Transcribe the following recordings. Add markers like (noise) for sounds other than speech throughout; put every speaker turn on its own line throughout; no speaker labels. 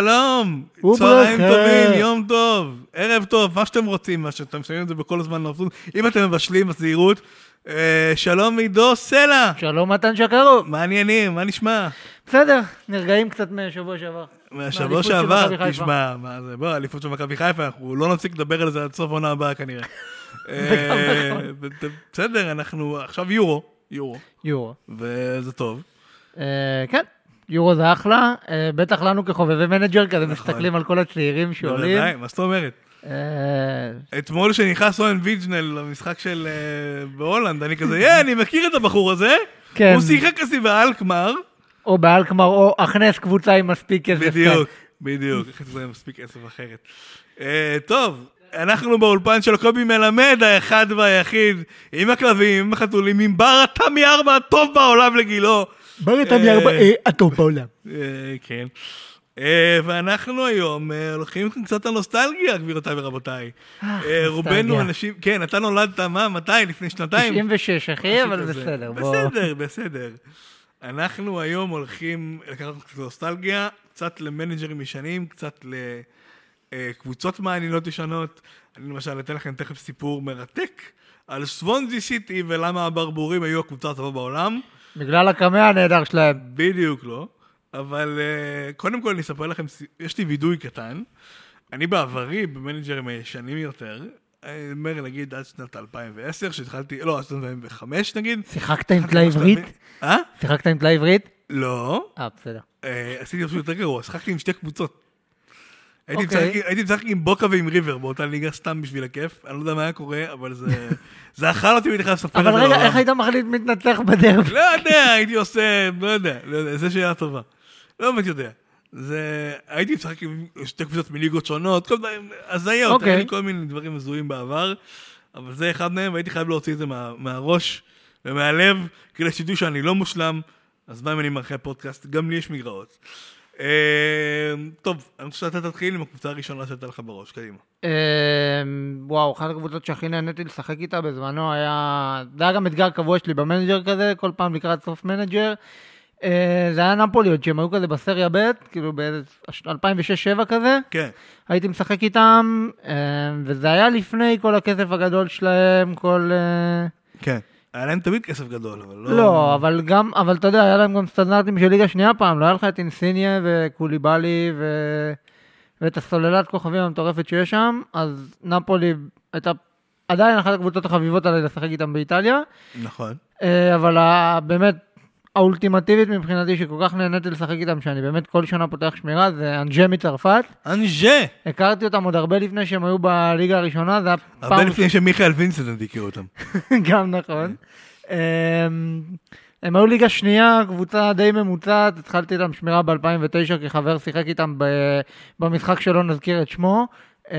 שלום,
וברכה.
צהריים טובים, יום טוב, ערב טוב, מה שאתם רוצים, מה שאתם שמים את זה בכל הזמן לעבוד. אם אתם מבשלים, אז זהירות. אה, שלום עידו סלע,
שלום מתן שקרוב.
מה העניינים, מה נשמע?
בסדר, נרגעים קצת משבוע שעבר.
מהשבוע
מהאליפות של מכבי
שעבר,
חיפה.
תשמע, מה זה, בוא, אליפות של מכבי חיפה, אנחנו לא נפסיק לדבר על זה עד סוף העונה הבאה
(laughs)
כנראה. אה,
נכון.
בסדר, אנחנו עכשיו יורו, יורו,
יורו.
וזה טוב.
אה, כן, יורו זה אחלה, אה, בטח לנו כחובבי מנג'ר כזה מסתכלים על כל הצעירים שעולים.
נכון. בוודאי, מה זאת אומרת?
אה,
אתמול שנכנס אוהן ויג'נל למשחק של... אה, בהולנד, אני כזה, יא, אני מכיר את הבחור הזה.
כן.
הוא שיחק אצלי באלקמר.
או באלקמר, או הכנס קבוצה עם מספיק כסף. כן.
בדיוק, בדיוק. איך זה מספיק עשב אחרת. אה, טוב, אנחנו באולפן של קובי מלמד, האחד והיחיד, עם הכלבים, עם החתולים, עם בר התמי ארבע הטוב בעולם לגילו.
בר
איתם לי ארבע- אה,
הטוב בעולם.
אה, כן. אה, ואנחנו היום אה, הולכים כאן קצת לנוסטלגיה, גבירותיי ורבותיי.
אה,
אה, רובנו
נוסטלגיה.
אנשים, כן, אתה נולדת, מה, מתי? לפני שנתיים?
96 אחי, אבל
משהו כזה.
בסדר, בוא.
אה, בסדר, בסדר. אנחנו היום הולכים לקחת קצת נוסטלגיה, קצת למנג'רים ישנים, קצת לקבוצות מעניינות ישנות. אני למשל אתן לכם תכף סיפור מרתק על סוונזי סיטי ולמה הברבורים היו הקבוצה הטובה בעולם.
בגלל הקמע הנהדר שלהם.
בדיוק לא, אבל אה, קודם כל אני אספר לכם, סי- יש לי וידוי קטן. אני בעברי, במנג'רים הישנים יותר, אני אומר נגיד עד שנת 2010, שהתחלתי, לא, עד שנת 2005 נגיד.
שיחקת עם
התחלתי
טלה
ממש
עברית?
להבין- אה?
שיחקת עם טלה עברית?
לא,
אה, בסדר.
אה, עשיתי משהו יותר גרוע, שיחקתי עם שתי קבוצות. הייתי
אוקיי.
משחק- הייתי משחק עם בוקה ועם ריבר באותה ליגה סתם בשביל הכיף, אני לא יודע מה היה קורה, אבל זה... זה אכל אותי ואני חייב לספר את זה לא
אבל רגע,
לעולם.
איך היית מחליט מתנצח בדרבי?
לא יודע, הייתי עושה, לא יודע, לא יודע, זו שאלה טובה. לא באמת יודע. זה, הייתי משחק עם שתי קבוצות מליגות שונות, כל דברים, הזיות,
אוקיי.
היו לי כל מיני דברים הזויים בעבר, אבל זה אחד מהם, והייתי חייב להוציא את זה מה, מהראש ומהלב, כדי שתדעו שאני לא מושלם, אז מה אם אני מאחרי הפודקאסט? גם לי יש מגרעות. אה, טוב, אני חושב שאתה תתחיל עם הקבוצה הראשונה שהייתה לך בראש, קדימה.
אמ, וואו, אחת הקבוצות שהכי נהניתי לשחק איתה בזמנו היה... זה היה גם אתגר קבוע שלי במנג'ר כזה, כל פעם לקראת סוף מנג'ר. אה, זה היה נפולי, עוד שהם היו כזה בסריה ב', כאילו ב-2006-2007 כזה.
כן,
הייתי משחק איתם, אמ, וזה היה לפני כל הכסף הגדול שלהם, כל... אה,
כן. היה להם תמיד כסף גדול, אבל לא...
לא, אבל גם, אבל אתה יודע, היה להם גם סטנדרטים של ליגה שנייה פעם, לא היה לך את אינסיניה וקוליבאלי ו... ואת הסוללת כוכבים המטורפת שיש שם, אז נפולי הייתה עדיין אחת הקבוצות החביבות עליי לשחק איתם באיטליה,
נכון.
אה, אבל ה... באמת האולטימטיבית מבחינתי שכל כך נהניתי לשחק איתם, שאני באמת כל שנה פותח שמירה, זה אנג'ה מצרפת.
אנג'ה!
הכרתי אותם עוד הרבה לפני שהם היו בליגה הראשונה, זה היה פעם...
הרבה לפני שמיכאל וינסטנד הכיר אותם.
(laughs) גם נכון. אמ, הם היו ליגה שנייה, קבוצה די ממוצעת, התחלתי איתם שמירה ב-2009, כי חבר שיחק איתם ב- במשחק שלא נזכיר את שמו, אמ,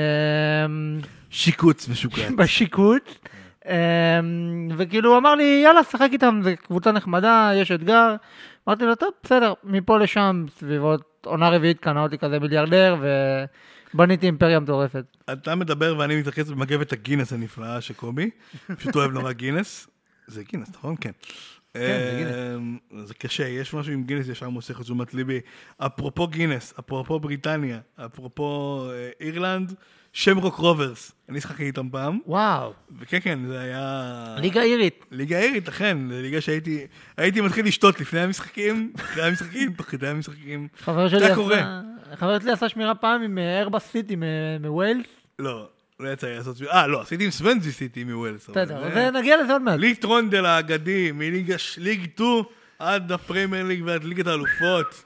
שיקוץ (laughs) משוקעת.
בשיפוט. אמ, וכאילו הוא אמר לי, יאללה, שחק איתם, זו קבוצה נחמדה, יש אתגר. אמרתי לו, טוב, בסדר, מפה לשם, סביבות עונה רביעית קנה אותי כזה מיליארדר, ובניתי אימפריה מטורפת.
אתה מדבר ואני מתרכז במגבת הגינס הנפלאה של קובי, פשוט אוהב נורא גינס. זה גינס, נכון? כן.
זה
אה, זה קשה, יש משהו עם גינס ישר מושך את תשומת ליבי. אפרופו גינס, אפרופו בריטניה, אפרופו אה, אירלנד, שמרוק רוברס. אני שחקתי איתם פעם,
וואו,
וכן, כן, זה היה...
ליגה אירית.
ליגה אירית, אכן, זו ליגה שהייתי הייתי מתחיל לשתות לפני המשחקים, אחרי המשחקים, תוך כדי המשחקים.
חבר שלי עשה...
קורה.
חבר שלי עשה שמירה פעם עם אה, ארבס סיטי מ- מווילס.
לא, לא יצא לי לעשות... אה, לא, עשיתי עם סוונזי סיטי מווילס. אבל
בסדר,
זה-
זה- נגיע לזה עוד מעט.
ליט רונדל האגדי, מליגה ליג 2 עד הפרמייר ליג ועד ליגת האלופות,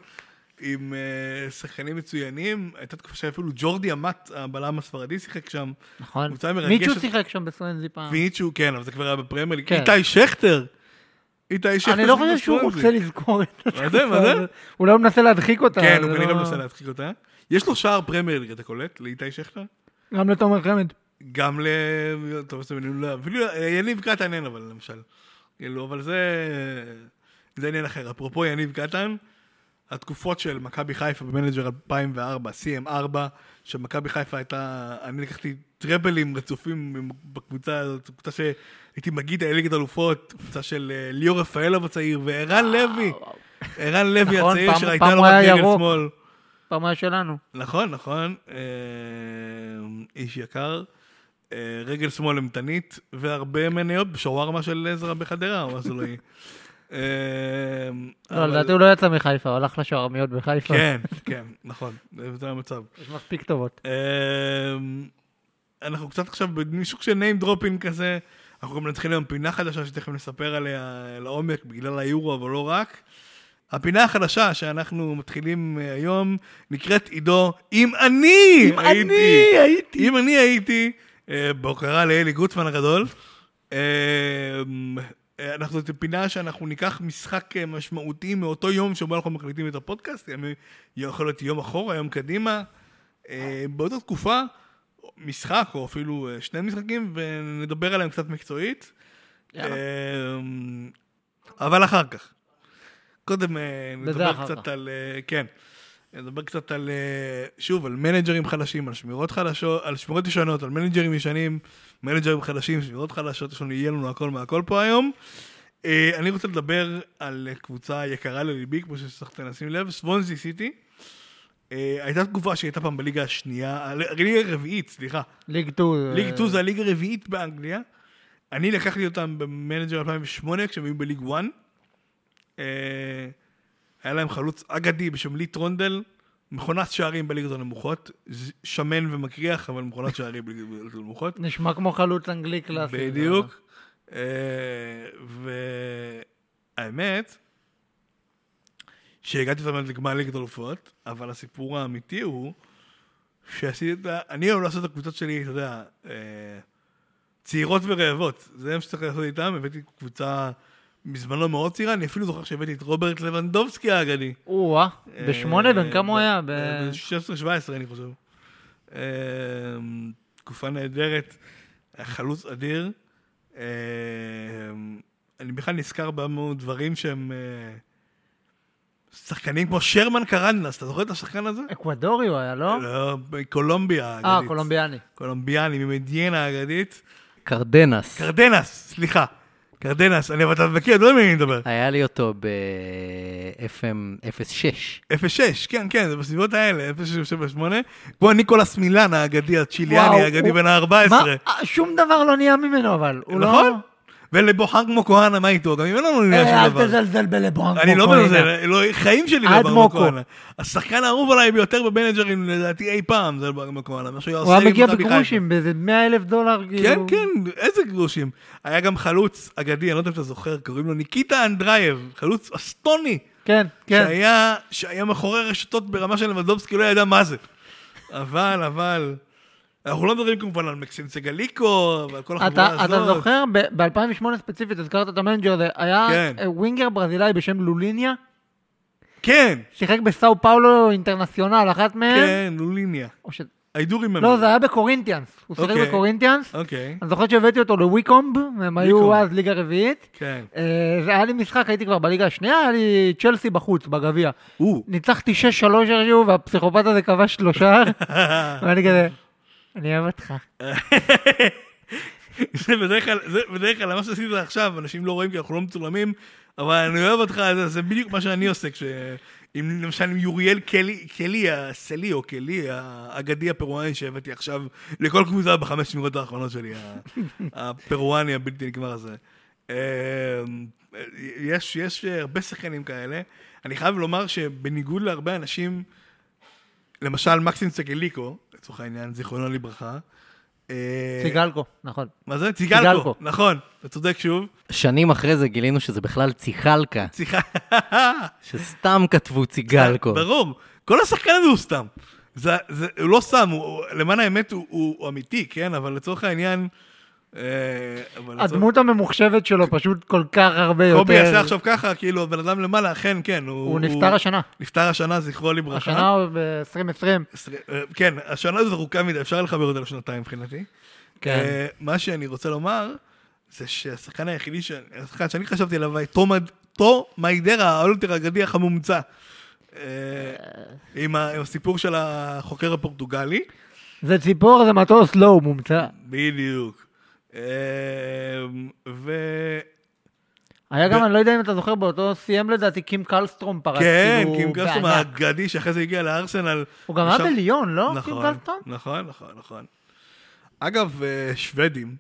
עם אה, שחקנים מצוינים. הייתה תקופה שאפילו ג'ורדי אמט, הבלם הספרדי, שיחק שם.
נכון.
קבוצה מרגשת.
מישהו שיחק שם בסואנזי פעם.
ואיצ'ו, כן, אבל זה כבר היה בפרמייר ליג.
אה. כן.
איתי שכטר! איתי שכטר.
אני לא
שיחק
חושב שהוא
בסוונזי.
רוצה לזכור את
מה זה, מה זה?
אולי הוא לא מנסה להדחיק אותה.
כן,
זה
הוא כנראה
לא-
מנסה להדחיק אותה. יש לו שער פרמייר ליג, אתה קולט? לאיתי שכטר?
גם לתומר חמד.
גם ל... טוב, אז אני לא... אפילו אה, יניב קטן אין, אבל למשל. כאילו, אבל זה... זה עניין אחר. אפרופו יניב קטן, התקופות של מכבי חיפה במנג'ר 2004, CM4, שמכבי חיפה הייתה... אני לקחתי טראבלים רצופים בקבוצה הזאת, קבוצה שהייתי מגיד ליגת אלופות, קבוצה של אה, ליאור רפאלוב הצעיר וערן לוי. ערן לוי
נכון,
הצעיר
פעם-
שהייתה
פעם
לו
הוא
רק
היה
רגל
ירוק.
שמאל.
פעם הוא היה שלנו.
נכון, נכון. אה, איש יקר. אה, רגל שמאל אימתנית, והרבה מניות בשווארמה של עזרא בחדרה, או אז לא יהיה. אה,
לא,
אבל-
לדעתי הוא לא יצא מחיפה, הוא הלך לשוערמיות בחיפה.
כן, כן, נכון, זה המצב.
יש מספיק טובות.
אמ, אנחנו קצת עכשיו במישהו של name dropping כזה, אנחנו גם נתחיל היום פינה חדשה שתכף נספר עליה לעומק בגלל היורו, אבל לא רק. הפינה החדשה שאנחנו מתחילים אה, היום נקראת עידו אם אני
אם
הייתי.
אני הייתי.
אם אני הייתי, אה, בהוקרה לאלי גוטמן הגדול. אמ, אה, אנחנו, זו פינה שאנחנו ניקח משחק אה, משמעותי מאותו יום שבו אנחנו מקליטים את הפודקאסט, ימי- יכול להיות יום אחורה, יום קדימה, אה, באותה תקופה, משחק או אפילו אה, שני משחקים, ונדבר עליהם קצת מקצועית. אה,
יאללה.
אמ, אבל אחר כך. קודם אה,
בזה
נדבר
אחר
קצת
כך.
על... אה, כן. נדבר קצת על, אה, שוב, על מנג'רים חלשים, על שמירות חדשות, על שמירות ישנות, על מנג'רים ישנים, מנג'רים חלשים, שמירות חלשות, יש לנו, יהיה לנו הכל מהכל פה היום. אה, אני רוצה לדבר על קבוצה יקרה לליבי, כמו שצריכים לשים לב, סוונזי סיטי. אה, הייתה תגובה שהייתה פעם בליגה השנייה, אה, הליגה הרביעית, סליחה.
ליג אה, 2.
ליג 2 זה הליגה הרביעית באנגליה. אני לקחתי אותם במנג'ר 2008, כשהם היו בליג 1. אה, היה להם חלוץ אגדי בשם ליט רונדל, מכונת שערים בליגות הנמוכות, ז- שמן ומקריח, אבל מכונת שערים בליגות הנמוכות.
נשמע כמו חלוץ אנגלי קלאסי.
בדיוק. אה, והאמת, שהגעתי אותם לגמר ליגת אלופות, אבל הסיפור האמיתי הוא שעשיתי את ה... אני אוהב לעשות את הקבוצות שלי, אתה יודע, אה, צעירות ורעבות. זה מה שצריך לעשות איתם, הבאתי קבוצה בזמנו מאוד צעירה, אני אפילו זוכר שהבאתי את רוברט לבנדובסקי האגדי.
או-אה,
אה,
בשמונה, בן כמה הוא
ב-
היה? ב-
ב-16-17, אני חושב. אה, תקופה נהדרת, היה חלוץ אדיר. אה, אני בכלל נזכר בהמון דברים שהם... אה, שחקנים כמו שרמן קרנדס, אתה זוכר את השחקן הזה?
אקוודורי הוא היה, לא?
לא, קולומביה האגדית.
אה, קולומביאני.
קולומביאני ממדיינה האגדית.
קרדנס.
קרדנס, סליחה. קרדנס, אני אבל אתה מכיר, אתה יודע מי אני מדבר.
היה לי אותו ב-FM 06.
06, כן, כן, זה בסביבות האלה, 0678. כמו ניקולס מילן האגדי הצ'יליאני,
וואו,
האגדי
הוא-
בן ה-14.
מה? אה, שום דבר לא נהיה ממנו, אבל. הוא לא-
נכון? ולבוחן כמו כהנה, מה איתו? גם אם אין לנו עניין
אה,
של
אל
דבר.
תזלזל בלברון.
אני לא
כמו כהנה.
מזלזל, לא- חיים שלי לא
עד
ברמה
מוקו.
כהנה. השחקן האהוב עליי ביותר במנג'רים לדעתי אי פעם זה ברמה כהנה. מה שהוא היה
הוא
עושה
היה
עם
מגיע
מכבי
בגרושים, באיזה 100 אלף דולר,
כן,
כאילו.
כן, איזה גרושים. היה גם חלוץ אגדי, אני לא יודע אם אתה זוכר, קוראים לו ניקיטה אנדרייב, חלוץ אסטוני.
כן, כן.
שהיה, שהיה מאחורי רשתות ברמה של לבנדובסקי, לא ידע מה זה. אבל, אבל, אנחנו לא מדברים כמובן על מקסים סגליקו, ועל כל החבורה
אתה
הזאת.
אתה זוכר, ב-2008 ספציפית, הזכרת את המנג'ר הזה, היה
כן.
אה, ווינגר ברזילאי בשם לוליניה,
כן,
שיחק בסאו פאולו אינטרנציונל, אחת מהם.
כן, לוליניה.
או ש-
I do remember.
לא, זה היה בקורינטיאנס. הוא שיחק
אוקיי.
בקורינטיאנס.
אוקיי,
אני זוכר שהבאתי אותו לוויקומב, הם היו
ויקומב.
אז ליגה רביעית.
כן.
אה, זה היה לי משחק, הייתי כבר בליגה השנייה, היה לי צ'לסי בחוץ, בגביע.
(laughs) הוא.
ניצחתי 6-3 איכשהו, והפסיכופת הזה כבש
(laughs)
שלושה,
אה,
ואני כזה, אני אוהב אותך.
זה בדרך כלל, זה בדרך כלל, מה שעשית עכשיו, אנשים לא רואים כי אנחנו לא מצולמים, אבל אני אוהב אותך, זה, זה בדיוק מה שאני עושה, כש... אם למשל עם יוריאל קלי, קלי, הסלי או קלי, האגדי הפרואני שהבאתי עכשיו לכל קבוצה בחמש שמירות האחרונות שלי, ה- הפרואני הבלתי נגמר הזה. אה, יש, יש הרבה שחקנים כאלה. אני חייב לומר שבניגוד להרבה אנשים, למשל מקסים סגליקו, לצורך העניין, זיכרונו לברכה, אה,
סיגלקו, נכון.
מה זה? ציגלקו.
ציגלקו.
נכון, אתה צודק שוב.
שנים אחרי זה גילינו שזה בכלל ציחלקה,
סליחה.
שסתם כתבו ציגלקו.
ברור. כל השחקן הזה הוא סתם. זה, זה, הוא לא סתם, הוא, הוא- למען האמת הוא, הוא, הוא אמיתי, כן? אבל לצורך העניין... אה, אבל לצורך-
הדמות הממוחשבת שלו פשוט כל כך הרבה יותר.
קובי עשה עכשיו ככה, כאילו, הבן אדם למעלה, אכן, כן.
הוא נפטר השנה.
נפטר השנה, זכרו לברכה.
השנה הוא ב-2020.
עשרה- אה, כן, השנה הזאת ארוכה מדי, אפשר לחבר אותה לשנתיים מבחינתי.
כן.
אה, מה שאני רוצה לומר, זה שהשחקן היחידי, ש- השחקן שאני חשבתי עליו, היה תומד- תו מיידרה, האולטר האגדי החמומצא. אה, עם ה- עם הסיפור של החוקר הפורטוגלי.
זה ציפור, זה מטוס, לא, הוא מומצא.
בדיוק. אה, ו...
היה גם, אני לא יודע אם אתה זוכר, באותו סיים לדעתי קים קלסטרום פרץ,
כן,
כאילו,
קים קלסטרום
בענק.
האגדי שאחרי זה הגיע לארסנל.
הוא גם היה
ישר-
בליון, לא? קים
נכון,
קלסטרום?
נכון, נכון, נכון. אגב, אה, שוודים.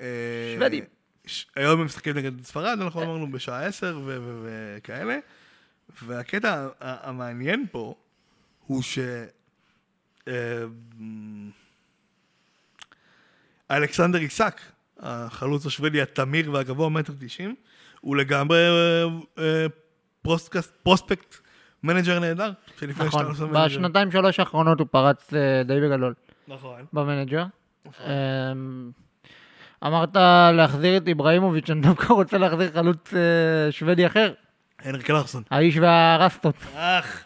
אה,
שוודים. אה.
ש- היום הם משחקים נגד ספרד, אנחנו אמרנו בשעה עשר ו- ו- וכאלה. והקטע ה- ה- המעניין פה הוא ש... אה, אלכסנדר איסק, החלוץ השוודי התמיר והגבוה מטר תשעים, הוא לגמרי אה, אה, פרוסקס- פרוספקט מנג'ר נהדר. שלפני שאתה עושה
נכון,
מנג'ר.
בשנתיים שלוש האחרונות הוא פרץ אה, די בגדול
נכון.
במנג'ר. אמ, אמרת להחזיר את איבראימוביץ', אני דווקא רוצה להחזיר חלוץ אה, שוודי אחר,
הנריק קלרסון.
האיש והרסטות.
אך,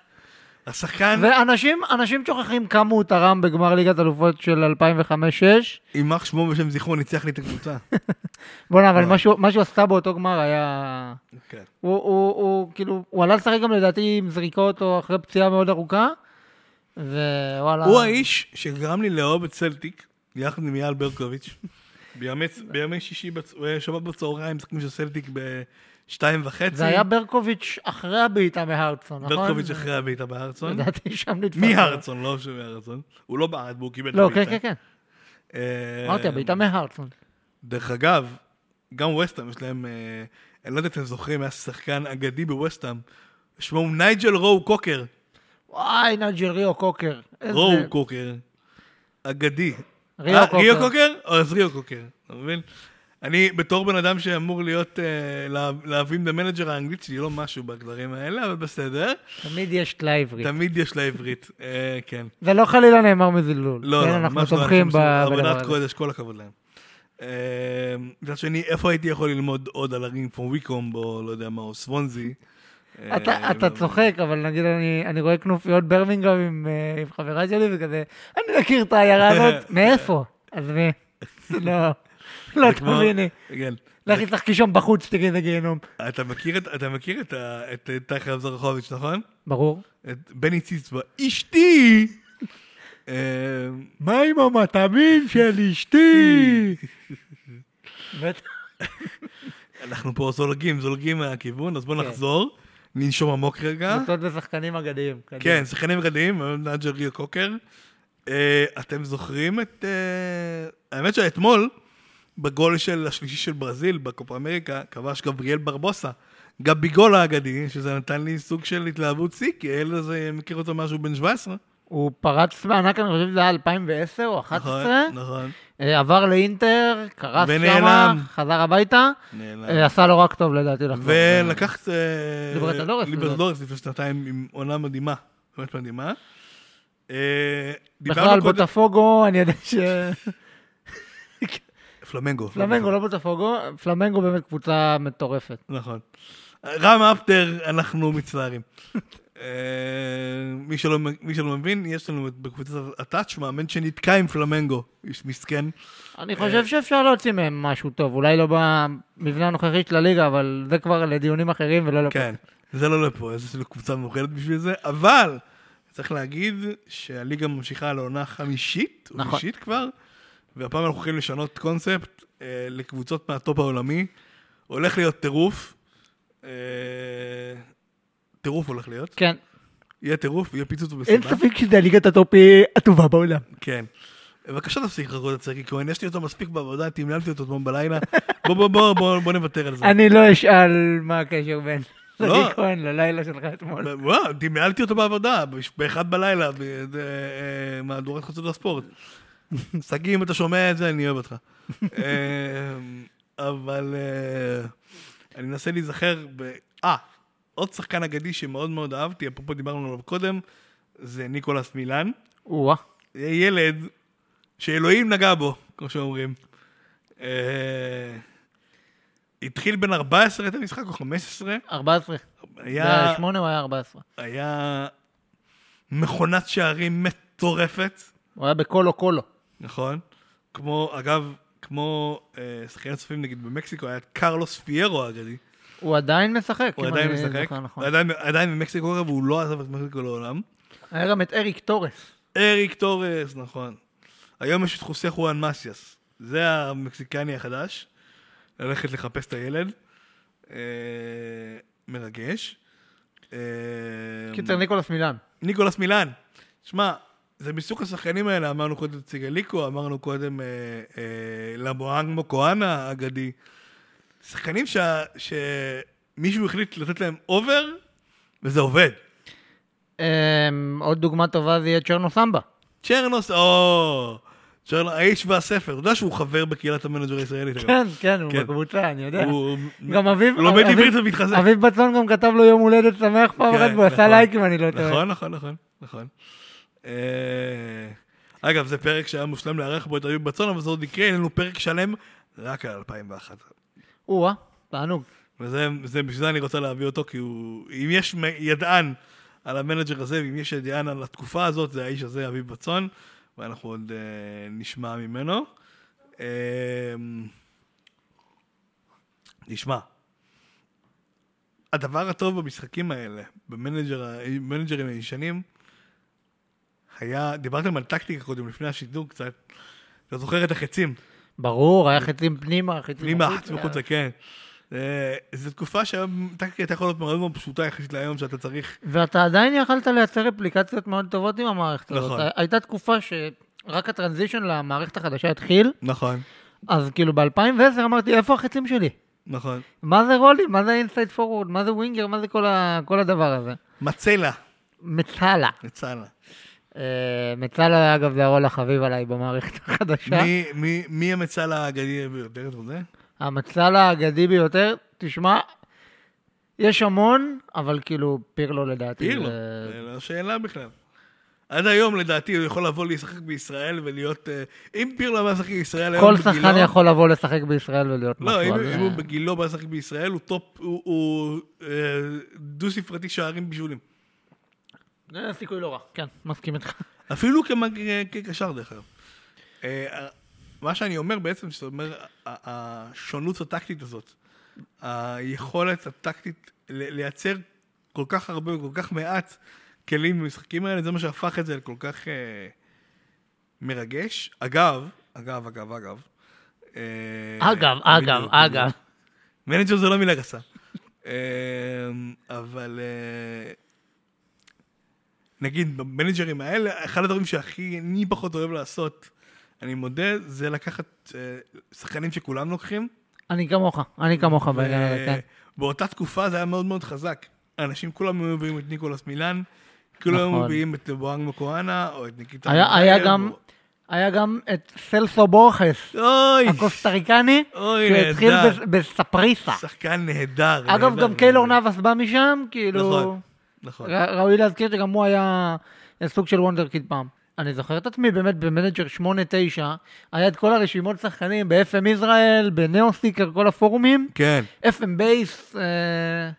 השחקן
ואנשים אנשים שוכחים כמה הוא תרם בגמר ליגת אלופות של 2005-2006.
יימח שמו ושם זכרו ניצח לי את הקבוצה.
בוא'נה,
אה.
אבל מה שהוא- מה שהוא עשה באותו גמר היה...
(laughs) כן.
הוא, הוא, הוא כאילו, הוא עלה לשחק גם לדעתי עם זריקות או אחרי פציעה מאוד ארוכה, ווואלה.
הוא האיש שגרם לי לאהוב את סלטיק, יחד עם אייל ברקוביץ'. (laughs) בימי- בימי שישי, בצ- אה, שבת בצהריים, משחקים של סלטיק בשתיים וחצי.
זה היה ברקוביץ' אחרי הבעיטה מהרצון, נכון?
ברקוביץ' אחרי הבעיטה בהרצון.
לדעתי שם נתפס.
מהרצון, לא שמהרצון. הוא לא בעט בו, הוא קיבל את
לא, כן,
הבעיטה.
כן, כן.
אה,
אמרתי, הבעיטה מהרצון.
דרך אגב, גם ווסטהאם יש להם, אה, אני לא יודע אם אתם זוכרים, היה שחקן אגדי בווסטהאם. שמו הוא נייג'ל רו קוקר.
וואי, נג'י ריו קוקר. איזה-
רו קוקר. אגדי.
ריו
אה,
קוקר.
ריו קוקר? אז ריו קוקר, אתה מבין? אני, בתור בן אדם שאמור להיות, אה, לה- להבין את המנג'ר האנגלית שלי, לא משהו בגדרים האלה, אבל בסדר.
תמיד יש טלאי עברית.
תמיד יש לה עברית. אה, כן.
זה לא חלילה נאמר מזלזול.
לא,
כן,
לא,
אנחנו
ממש לא.
תומכים ב-
אנשים עושים
בדבר
עבודת
הזה.
קודש, כל הכבוד להם. אה, מצד שני, איפה הייתי יכול ללמוד עוד על הרינג פור ויקום, או לא יודע מה, או סוונזי? אה,
אתה, אתה
אבל-
צוחק, אבל נגיד אני, אני רואה כנופיות ברמינגהם עם, אה, עם חברה שלי וכזה, אני מכיר את העיירה
(laughs)
הזאת, מאיפה? אז מי? לא, לא
זה כמו-
תביני.
כן.
לכי תחכי שם בחוץ, תגידי לגיהנום.
אתה מכיר את- אתה מכיר את ה- את אה, טייכר זרחוביץ', נכון?
ברור.
את בני ציצבה, אשתי! אה,
מה עם המטעמים של אשתי?
(laughs) אה? אנחנו פה זולגים, זולגים מהכיוון, אז בואו
כן. נכון. בטח.
נחזור, ננשום עמוק רגע.
קבוצות ושחקנים אגדיים. קדימה.
כן, שחקנים אגדיים, נאג'ר ריו קוקר. אה, אתם זוכרים את... אה, האמת שאתמול, בגול של השלישי של ברזיל, בקופה אמריקה, כבש גבריאל ברבוסה. גביגול האגדי, שזה נתן לי סוג של התלהבות שיא, כי הילד הזה מכיר אותו משהו בן 17.
הוא פרץ בענק, אני חושב שזה היה 2010 או 2011,
נכון, נכון.
אה, עבר לאינטר, קרס שמה,
ונעלם. נכון.
חזר הביתה,
נעלם.
אה, עשה לו רק טוב לדעתי לחזור.
ולקחת...
אה, ליברטדורס,
ליברטדורס לפני שנתיים עם עונה מדהימה, באמת מדהימה. אה, דיברנו
בכלל,
קודם-
בוטפוגו, אני יודע ש...
פלמנגו.
פלמנגו, לא בוטפוגו, פלמנגו באמת קבוצה מטורפת.
נכון. רם אפטר, אנחנו
(laughs)
מצטערים. אה, מי שלא מי שלא מבין, יש לנו את- בקבוצת הטאץ' מאמן שנתקע עם פלמנגו, איש מסכן.
אני
אה.
חושב שאפשר להוציא מהם משהו טוב, אולי לא במבנה הנוכחי של הליגה, אבל זה כבר לדיונים אחרים ולא לפה.
כן, זה לא לפה, אז יש לנו קבוצה מאוחדת בשביל זה, אבל צריך להגיד שהליגה ממשיכה לעונה חמישית, או
נכון.
שישית כבר, והפעם אנחנו הולכים לשנות קונספט אה, לקבוצות מהטופ העולמי. הולך להיות טירוף. אה, טירוף הולך להיות.
כן.
יהיה טירוף, יהיה פיצוץ
אין
במסיבה.
ספק שזה הליגת הטופ היא הטובה בעולם.
כן. בבקשה תפסיק לחכות את צחקי כהן, יש לי אותו מספיק בעבודה, תמלמתי אותו אתמול בלילה. בוא בוא בוא בוא בוא נוותר על זה.
אני לא אשאל מה הקשר בין
לא.
רבי כהן ללילה שלך אתמול.
וואו, תמלמתי אותו בעבודה, בש- באחד בלילה, אה, במהדורת חצות הספורט. שגיא, אם אתה שומע את זה, אני אוהב אותך. אה, אבל אה, אני מנסה להיזכר ב... אה, עוד שחקן אגדי שמאוד מאוד אהבתי, אפרופו דיברנו עליו קודם, זה ניקולס מילן.
או-אה.
זה ילד שאלוהים נגע בו, כמו שאומרים. אה, התחיל בין 14 את המשחק, או 15,
14.
היה,
ב-8 הוא היה 14.
היה מכונת שערים מטורפת,
הוא היה בקולו קולו.
נכון? כמו, אגב, כמו אה, שחקנים צופים נגיד במקסיקו, היה את קרלוס פיירו האגדי.
הוא עדיין משחק.
הוא
אם
עדיין
אני
משחק,
זוכר נכון.
הוא עדיין- עדיין במקסיקו, אגב, והוא לא עזב את מקסיקו לעולם.
היה גם את אריק טורס.
אריק טורס, נכון. היום יש את חוסה חואן מסיאס. זה המקסיקני החדש. ללכת לחפש את הילד. אה, מרגש. אה,
קיצר, ניקולס מילן.
ניקולס מילן. שמע, זה מסוג השחקנים האלה, אמרנו קודם ציגליקו, אמרנו קודם אה, אה, לבואנגמו כהנה האגדי. שחקנים שה- שמישהו החליט לתת להם אובר, וזה עובד.
אמ, עוד דוגמה טובה זה יהיה צ'רנו סמבה.
צ'רנוס, או! צ'רנוס, האיש והספר. אתה יודע שהוא חבר בקהילת המנג'ר הישראלית. אגב.
כן, כן, הוא
כן.
בקבוצה, אני יודע.
הוא
גם אביב...
הוא לומד
אביב-
עברית ומתחזק.
אביב בצון גם כתב לו יום הולדת שמח פעם
כן,
אחת, והוא עשה
נכון.
לייקים, אני לא טועה.
נכון, נכון, נכון, נכון. אה, אגב, זה פרק שהיה מושלם לארח בו את אביב בצאן, אבל זה עוד יקרה, אין לנו פרק שלם רק על 2001.
או-אה, אה? תענוג.
וזה, זה- בשביל זה אני רוצה להביא אותו, כי הוא... אם יש מ- ידען על המנג'ר הזה, ואם יש ידען על התקופה הזאת, זה האיש הזה, אביב בצאן, ואנחנו עוד אה, נשמע ממנו. אה, נשמע. הדבר הטוב במשחקים האלה, במנג'ר, ה- במנג'רים הישנים, היה, דיברתם על טקטיקה קודם, לפני השידור קצת. אתה זוכר את החצים?
ברור, היה חצים פנימה, חצים
פנימה,
החוצה.
חוץ מחוצה, כן. אה, זו תקופה שהיום, טקטיקה הייתה יכולה להיות מאוד מאוד פשוטה יחסית להיום, שאתה צריך...
ואתה עדיין יכלת לייצר אפליקציות מאוד טובות עם המערכת הזאת.
נכון.
הייתה תקופה שרק הטרנזישן למערכת החדשה התחיל,
נכון,
אז כאילו ב-2010 אמרתי, איפה החצים שלי?
נכון.
מה זה רולים? מה זה אינסייד פורוורד? מה זה ווינגר? מה זה כל, ה... כל הדבר הזה?
מצלה,
מצלה.
מצלה.
אה, מצלה, אגב, זה הרול החביב עליי במערכת (laughs) החדשה.
מי- מי- מי המצל האגדי ביותר, אתה יודע?
המצל האגדי ביותר, תשמע, יש המון, אבל כאילו פירלו לדעתי.
פירלו,
זה-
זה לא שאלה בכלל. עד היום, לדעתי, הוא יכול לבוא לשחק בישראל ולהיות... אה, אם פירלו היה משחק בישראל היום
כל
לא בגילו...
שחקן יכול לבוא לשחק בישראל ולהיות
לא, אם
משהו. אז,
אם
אה,
הוא בגילו בא לשחק בישראל, הוא טופ... הוא- הוא אה, דו-ספרתי שערים בישולים.
זה סיכוי לא רע, כן, מסכים איתך.
אפילו כמג- כקשר דרך אגב. אה, מה שאני אומר בעצם, שאתה אומר, ה- השונות הטקטית הזאת, היכולת הטקטית ל- לייצר כל כך הרבה וכל כך מעט כלים במשחקים האלה, זה מה שהפך את זה לכל כך אה, מרגש. אגב, אגב, אגב, אגב. אה,
אגב, אגב,
בדיוק, בדיוק.
אגב.
מנג'ר זה לא מילה גסה. אמ, אבל אה, נגיד במנג'רים האלה, אחד הדברים שהכי אני פחות אוהב לעשות, אני מודה, זה לקחת אה, שחקנים שכולם לוקחים.
אני כמוך, אני כמוך בעניין הזה, כן.
באותה תקופה זה היה מאוד מאוד חזק. אנשים כולם היו מביאים את ניקולס מילן, כולם היו
נכון.
מביאים את בואנג מקואנה, או את ניקיטה.
היה- היה
מיכאל,
גם-
או-
היה גם את סלסו בורכס,
אוי,
הקוסטריקני,
אוי,
שהתחיל
נהדר.
בס- בספריסה.
שחקן נהדר.
אגב,
נהדר,
גם קיילור
נהדר.
נאבס בא משם, כאילו...
נכון, נכון.
ר- ראוי להזכיר שגם הוא היה סוג של וונדרקיד פעם. אני זוכר את עצמי באמת במנג'ר 8-9, היה את כל הרשימות שחקנים ב-FM ישראל, בנאו סטיקר, כל הפורומים,
כן.
FM בייס, אה,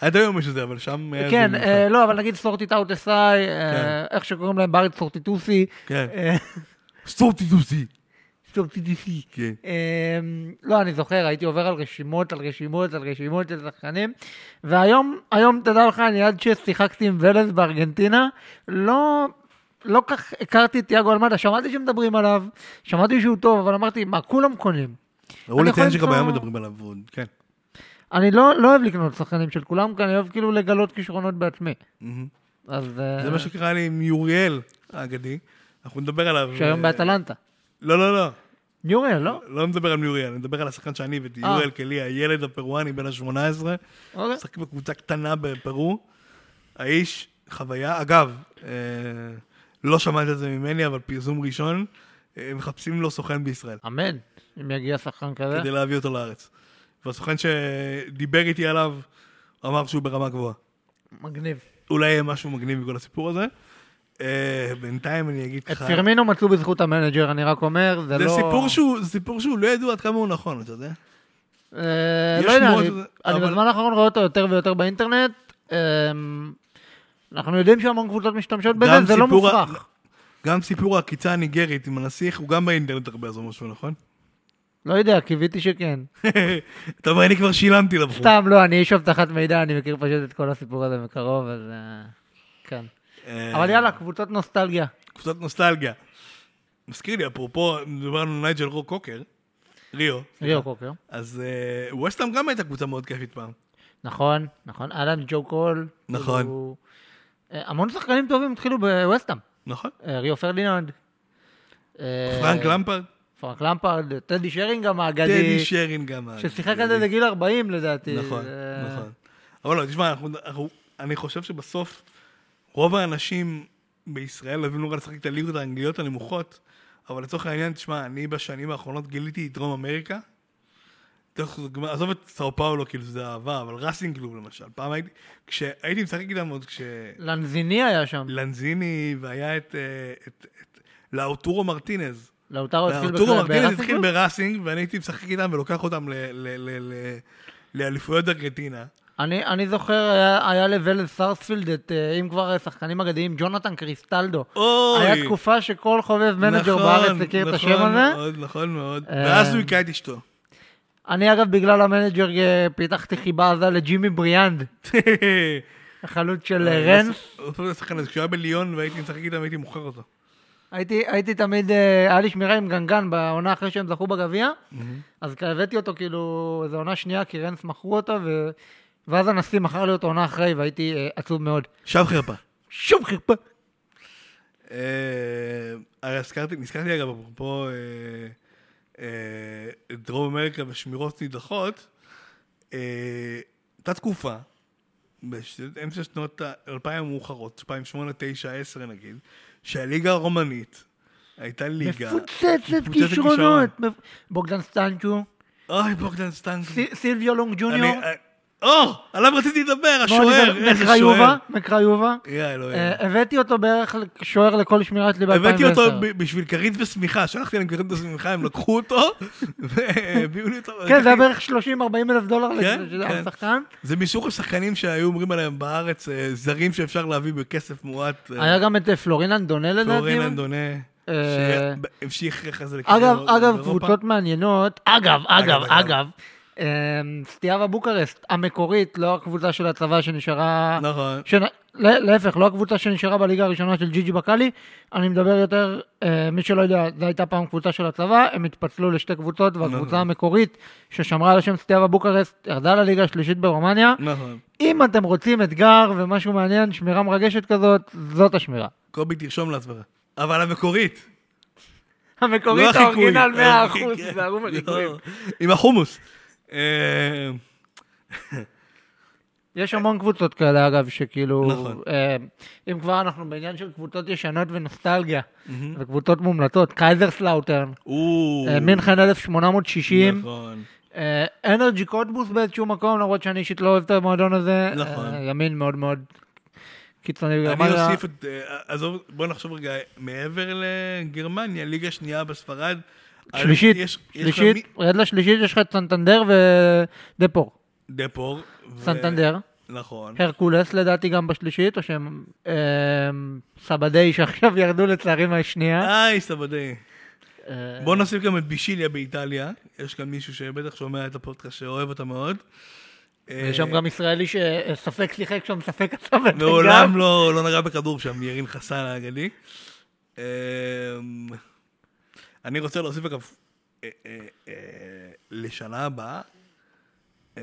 עד היום יש את זה, אבל שם... היה
כן,
זה
אה,
מיוחד.
לא, אבל נגיד סורטיט אאוט אסאי,
כן.
אה, איך שקוראים להם בארץ סורטיטוסי,
כן.
אה, (laughs)
סורטיטוסי.
סורטיטיסי.
כן.
אמ, לא, אני זוכר, הייתי עובר על רשימות, על רשימות, על רשימות של שחקנים, והיום, היום, תדע לך, אני עד ששיחקתי עם ולז בארגנטינה, לא... לא כך הכרתי את תיאגו אלמדה, שמעתי שמדברים עליו, שמעתי שהוא טוב, אבל אמרתי, מה, כולם קונים.
ראו
יכול
לציין שגם
למצוא-
היום מדברים עליו עוד, כן.
אני לא, לא אוהב לקנות שחקנים של כולם, כי אני אוהב כאילו לגלות כישרונות בעצמי.
מהמם.
אז...
Mm-hmm.
אה,
זה מה שקרה לי עם יוריאל האגדי, אנחנו נדבר עליו.
שהיום
אה,
באטלנטה.
לא, לא, לא.
יוריאל, לא?
לא מדבר על יוריאל, אני מדבר על השחקן שאני הבאתי,
אה.
יוריאל קלי, הילד הפרואני בן ה-18,
אוקיי.
משחק בקבוצה קטנה בפרו. האיש, חוויה, אגב, אה, לא שמעת את זה ממני, אבל פרסום ראשון, אה, מחפשים לו סוכן בישראל.
אמן, אם יגיע שחקן כזה.
כדי להביא אותו לארץ. והסוכן שדיבר איתי עליו, אמר שהוא ברמה גבוהה.
מגניב.
אולי יהיה משהו מגניב מכל הסיפור הזה. אה, בינתיים אני אגיד
את
לך...
פירמינו מצאו בזכות המנג'ר, אני רק אומר, זה
זה
לא...
סיפור שהוא, זה סיפור שהוא לא ידוע עד כמה הוא נכון, אתה יודע?
אה,
יש
לא יודע,
שמועות,
אני-
אבל-
אני בזמן האחרון רואה אותו יותר ויותר באינטרנט. אמ, אנחנו יודעים שהמון קבוצות משתמשות בזה,
גם
זה לא
סיפור ה-
מופרך.
גם סיפור העקיצה הניגרית עם הנסיך, הוא גם באינטרנט הרבה אז הוא משהו, נכון? (laughs)
לא יודע, קיוויתי שכן.
אתה אומר, אני כבר שילמתי לבחור.
סתם, לא, אני איש אבטחת מידע, אני מכיר פשוט את כל הסיפור הזה מקרוב, אז... אה, כן.
אה,
אבל יאללה, קבוצות נוסטלגיה.
קצת נוסטלגיה. מזכיר לי, אפרופו, דיברנו על נייג'ל רו קוקר, ריו.
ריו קוקר.
אז אה, ווסטהאם גם הייתה קבוצה מאוד כיפית פעם.
נכון, נכון. אהלן ג'ו קול.
נכון.
הוא- אה, המון שחקנים טובים התחילו בווסטאם.
נכון.
ריו פרדיננד. אה,
פרנק למפרד,
פרנק למפרד, טדי שרינג האגדי,
טדי שרין גם. היה.
ששיחק עד איזה גיל 40 לדעתי.
נכון,
אה,
נכון. אבל לא, תשמע, אנחנו- אנחנו- אני חושב שבסוף רוב האנשים בישראל אוהבים נורא לשחק את הליגות האנגליות הנמוכות, אבל לצורך העניין, תשמע, אני בשנים האחרונות גיליתי את דרום אמריקה. תוך- עזוב את סאו פאולו, כאילו, זה אהבה, אבל ראסינג קלוב למשל. פעם הייתי, כשהייתי משחק איתם עוד
לא.
כש...
לנזיני היה שם,
לנזיני, והיה את, אה, את, את לאוטורו מרטינז.
לאוטרו התחיל
לאוטורו
לא, בכלל-
מרטינז
ברסינג
אה, התחיל
קלוב?
בראסינג, ואני הייתי משחק איתם ולוקח אותם ל- ל- ל- ל- לאליפויות ארגנטינה.
אני אני זוכר, היה- היה לוולד סרספילד את, אה, אם כבר אה, שחקנים אגדיים, ג'ונתן קריסטלדו.
אוי!
היה תקופה שכל חובב מנג'ר
נכון,
בארץ הכיר את השם
נכון
הזה.
מאוד, נכון מאוד.
אה,
ואז הוא הכה את אשתו.
אני אגב, בגלל המנג'ר אה, פיתחתי חיבה עזה לג'ימי בריאנד, החלוץ של אה, רנס.
הוא עושה את השחקן הזה, כשהוא היה בליון והייתי משחק איתם, הייתי מוכר אותו.
הייתי, הייתי תמיד, אה, היה לי שמירה עם גנגן בעונה אחרי שהם זכו בגביע, אז הבאתי אותו כאילו, זו עונה שנייה, כי רנס מכרו אותו, ו... ואז הנשיא מכר לי אותו עונה אחרי, והייתי אה, עצוב מאוד.
שב חרפה.
שוב חרפה.
אה, הרי הזכרתי, נזכרתי אגב, אפרופו אה, אה, את דרום אמריקה ושמירות נידחות, אה, הייתה תקופה, באמצע שנות האלפיים המאוחרות, 2008, 2009, 2010 נגיד, שהליגה הרומנית הייתה ליגה...
מפוצצת
מפוצצת
כישרונות. מפ- בוגדן סטנצ'ו,
אוי, בוגדן סטנקו.
ס- סילביו לונג ג'וניור,
אני- או, עליו רציתי לדבר, השוער,
מוליבר-
איזה שוער.
מקריובה, מקריובה.
יא אלוהים.
אה, הבאתי אותו בערך שוער לכל שמירה שלי ב-2010.
הבאתי אותו ב- בשביל כרית ושמיכה, שלחתי להם כרית ושמיכה, הם לקחו אותו, (laughs) והביאו לי אותו.
כן, זה היה בערך 30-40 אלף דולר
כן, כן.
לשחקן.
זה מסוג השחקנים שהיו אומרים עליהם בארץ, אה, זרים שאפשר להביא בכסף מועט. אה,
היה גם את אה, פלורין אנדונה לדעתי.
פלורין אנדונה,
אה,
שהמשיך אחרי זה
אגב,
לקריירה
אגב,
באירופה.
קבוצות מעניינות, אגב, אגב,
אגב, אגב.
אגב, אמ, סטיאבה בוקרסט המקורית, לא הקבוצה של הצבא שנשארה,
נכון.
שנ- לה- להפך, לא הקבוצה שנשארה בליגה הראשונה של ג'י ג'י בקאלי, אני מדבר יותר, אה, מי שלא יודע, זו הייתה פעם קבוצה של הצבא, הם התפצלו לשתי קבוצות,
לא,
והקבוצה המקורית ששמרה על השם סטיאבה בוקרסט ירדה לליגה השלישית ברומניה.
נכון.
אם אתם רוצים אתגר ומשהו מעניין, שמירה מרגשת כזאת, זאת השמירה.
קובי, תרשום לעצמך. אבל המקורית.
המקורית
לא החיקוי.
האורגינל 100%,
כן,
זה ערום
לא. עם החומוס. אה,
יש המון קבוצות כאלה, אגב, שכאילו...
נכון.
אה, אם כבר אנחנו בעניין של קבוצות ישנות ונוסטלגיה, וקבוצות מומלטות, קייזרסלאוטרן,
או,
אה, מינכן 1860,
נכון.
אה, אנרג'י קוטבוס באיזשהו מקום, למרות שאני אישית לא אוהב את המועדון הזה.
נכון.
אה, ימין מאוד מאוד קיצוני
אני
בגרמניה.
אוסיף את... אה, עזוב, בוא נחשוב רגע, מעבר לגרמניה, ליגה שנייה בספרד.
שלישית,
יש- יש לך
שלישית,
מי-
רד לשלישית, יש לך את סנטנדר ודפור.
דפור. ו-
סנטנדר,
נכון.
הרקולס לדעתי גם בשלישית, או שהם אה, סבדי שעכשיו ירדו לצערי מהשנייה.
היי, סבדי.
אה,
בוא נוסיף גם את בישיליה באיטליה. יש כאן מישהו שבטח שומע את הפודקאסט שאוהב אותה
(laughs)
מאוד. אה,
ויש שם גם ישראלי שספק שיחק שם, ספק עשה ואת
מעולם לא, לא נגע בכדור שם, ירין חסן האגדי. אמ, אני רוצה להוסיף אגב, אה, אה, אה, לשנה הבאה, אה,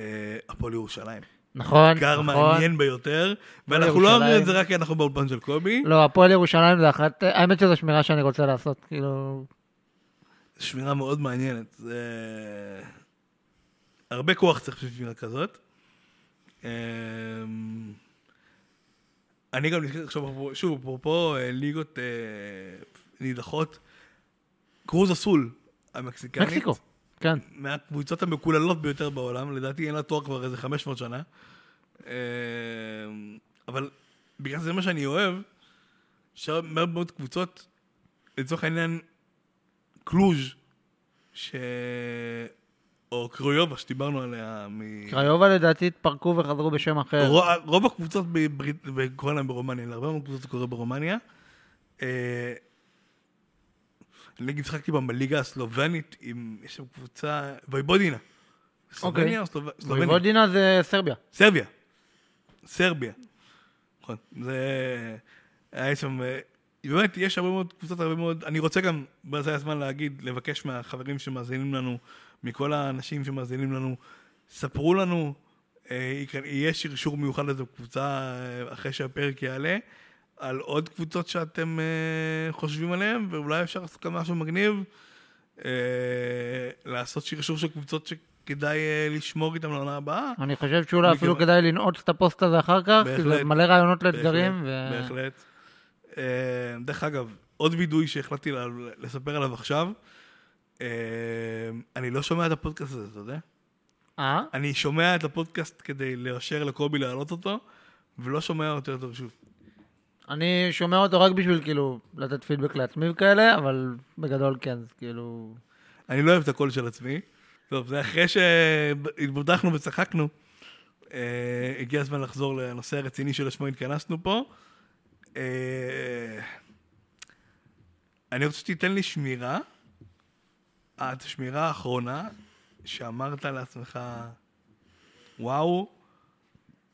הפועל ירושלים.
נכון,
אתגר
נכון.
מעניין ביותר, ואנחנו לא אומרים
ירושלים.
את זה רק כי אנחנו באולפן של קובי.
לא, הפועל ירושלים זה אחת, האמת שזו שמירה שאני רוצה לעשות, כאילו...
שמירה מאוד מעניינת. זה... הרבה כוח צריך בשביל שמירה כזאת. אמ, אני גם נזכר עכשיו, אפרופו- שוב, אפרופו אה, ליגות אה, נידחות, קרוז אסול המקסיקנית.
מקסיקו, כן.
מהקבוצות המקוללות ביותר בעולם, לדעתי אין לה תואר כבר איזה 500 שנה. אמ, אבל בגלל זה מה שאני אוהב, שהרבה מאוד קבוצות, לצורך העניין, קלוז' ש... או קרויובה שדיברנו עליה, מ...
קריובה לדעתי התפרקו וחזרו בשם אחר.
רוב, רוב הקבוצות בברית, קורה להם ברומניה, להרבה מאוד קבוצות זה קורה ברומניה. אה, אני נגיד שחקתי פעם בליגה הסלובנית עם, יש שם קבוצה, וייבודינה. סלובניה או סלוב- סלובניה?
אוקיי. וויבודינה זה סרביה.
סרביה. סרביה. נכון. זה... היה שם... אה, באמת, יש הרבה מאוד קבוצות, הרבה מאוד... אני רוצה גם, בזה הזמן להגיד, לבקש מהחברים שמאזינים לנו, מכל האנשים שמאזינים לנו, ספרו לנו, אה, יכ- יהיה שרשור מיוחד לזה בקבוצה אה, אחרי שהפרק יעלה, על עוד קבוצות שאתם אה, חושבים עליהן, ואולי אפשר לעשות גם משהו מגניב, אה, לעשות שרשור של קבוצות שכדאי אה, לשמור איתן לעונה הבאה.
אני חושב שאולי אפילו
מכיוון-
כדאי לנעוץ את הפוסט הזה אחר כך, כי
בהחלט.
זה מלא רעיונות לאתגרים,
בהחלט,
ו-
בהחלט. אה, דרך אגב, עוד וידוי שהחלטתי לה- לספר עליו עכשיו, אה, אני לא שומע את הפודקאסט הזה, אתה יודע?
אה?
אני שומע את הפודקאסט כדי לאשר לקובי להעלות אותו, ולא שומע אותו יותר שוב.
אני שומע אותו רק בשביל כאילו לתת פידבק לעצמי וכאלה, אבל בגדול כן, זה כאילו...
אני לא אוהב את הקול של עצמי. טוב, זה אחרי שהתבודחנו וצחקנו. אה, הגיע הזמן לחזור לנושא הרציני שלשמו התכנסנו פה. אה, אני רוצה שתיתן לי שמירה, אה, את השמירה האחרונה שאמרת לעצמך, וואו,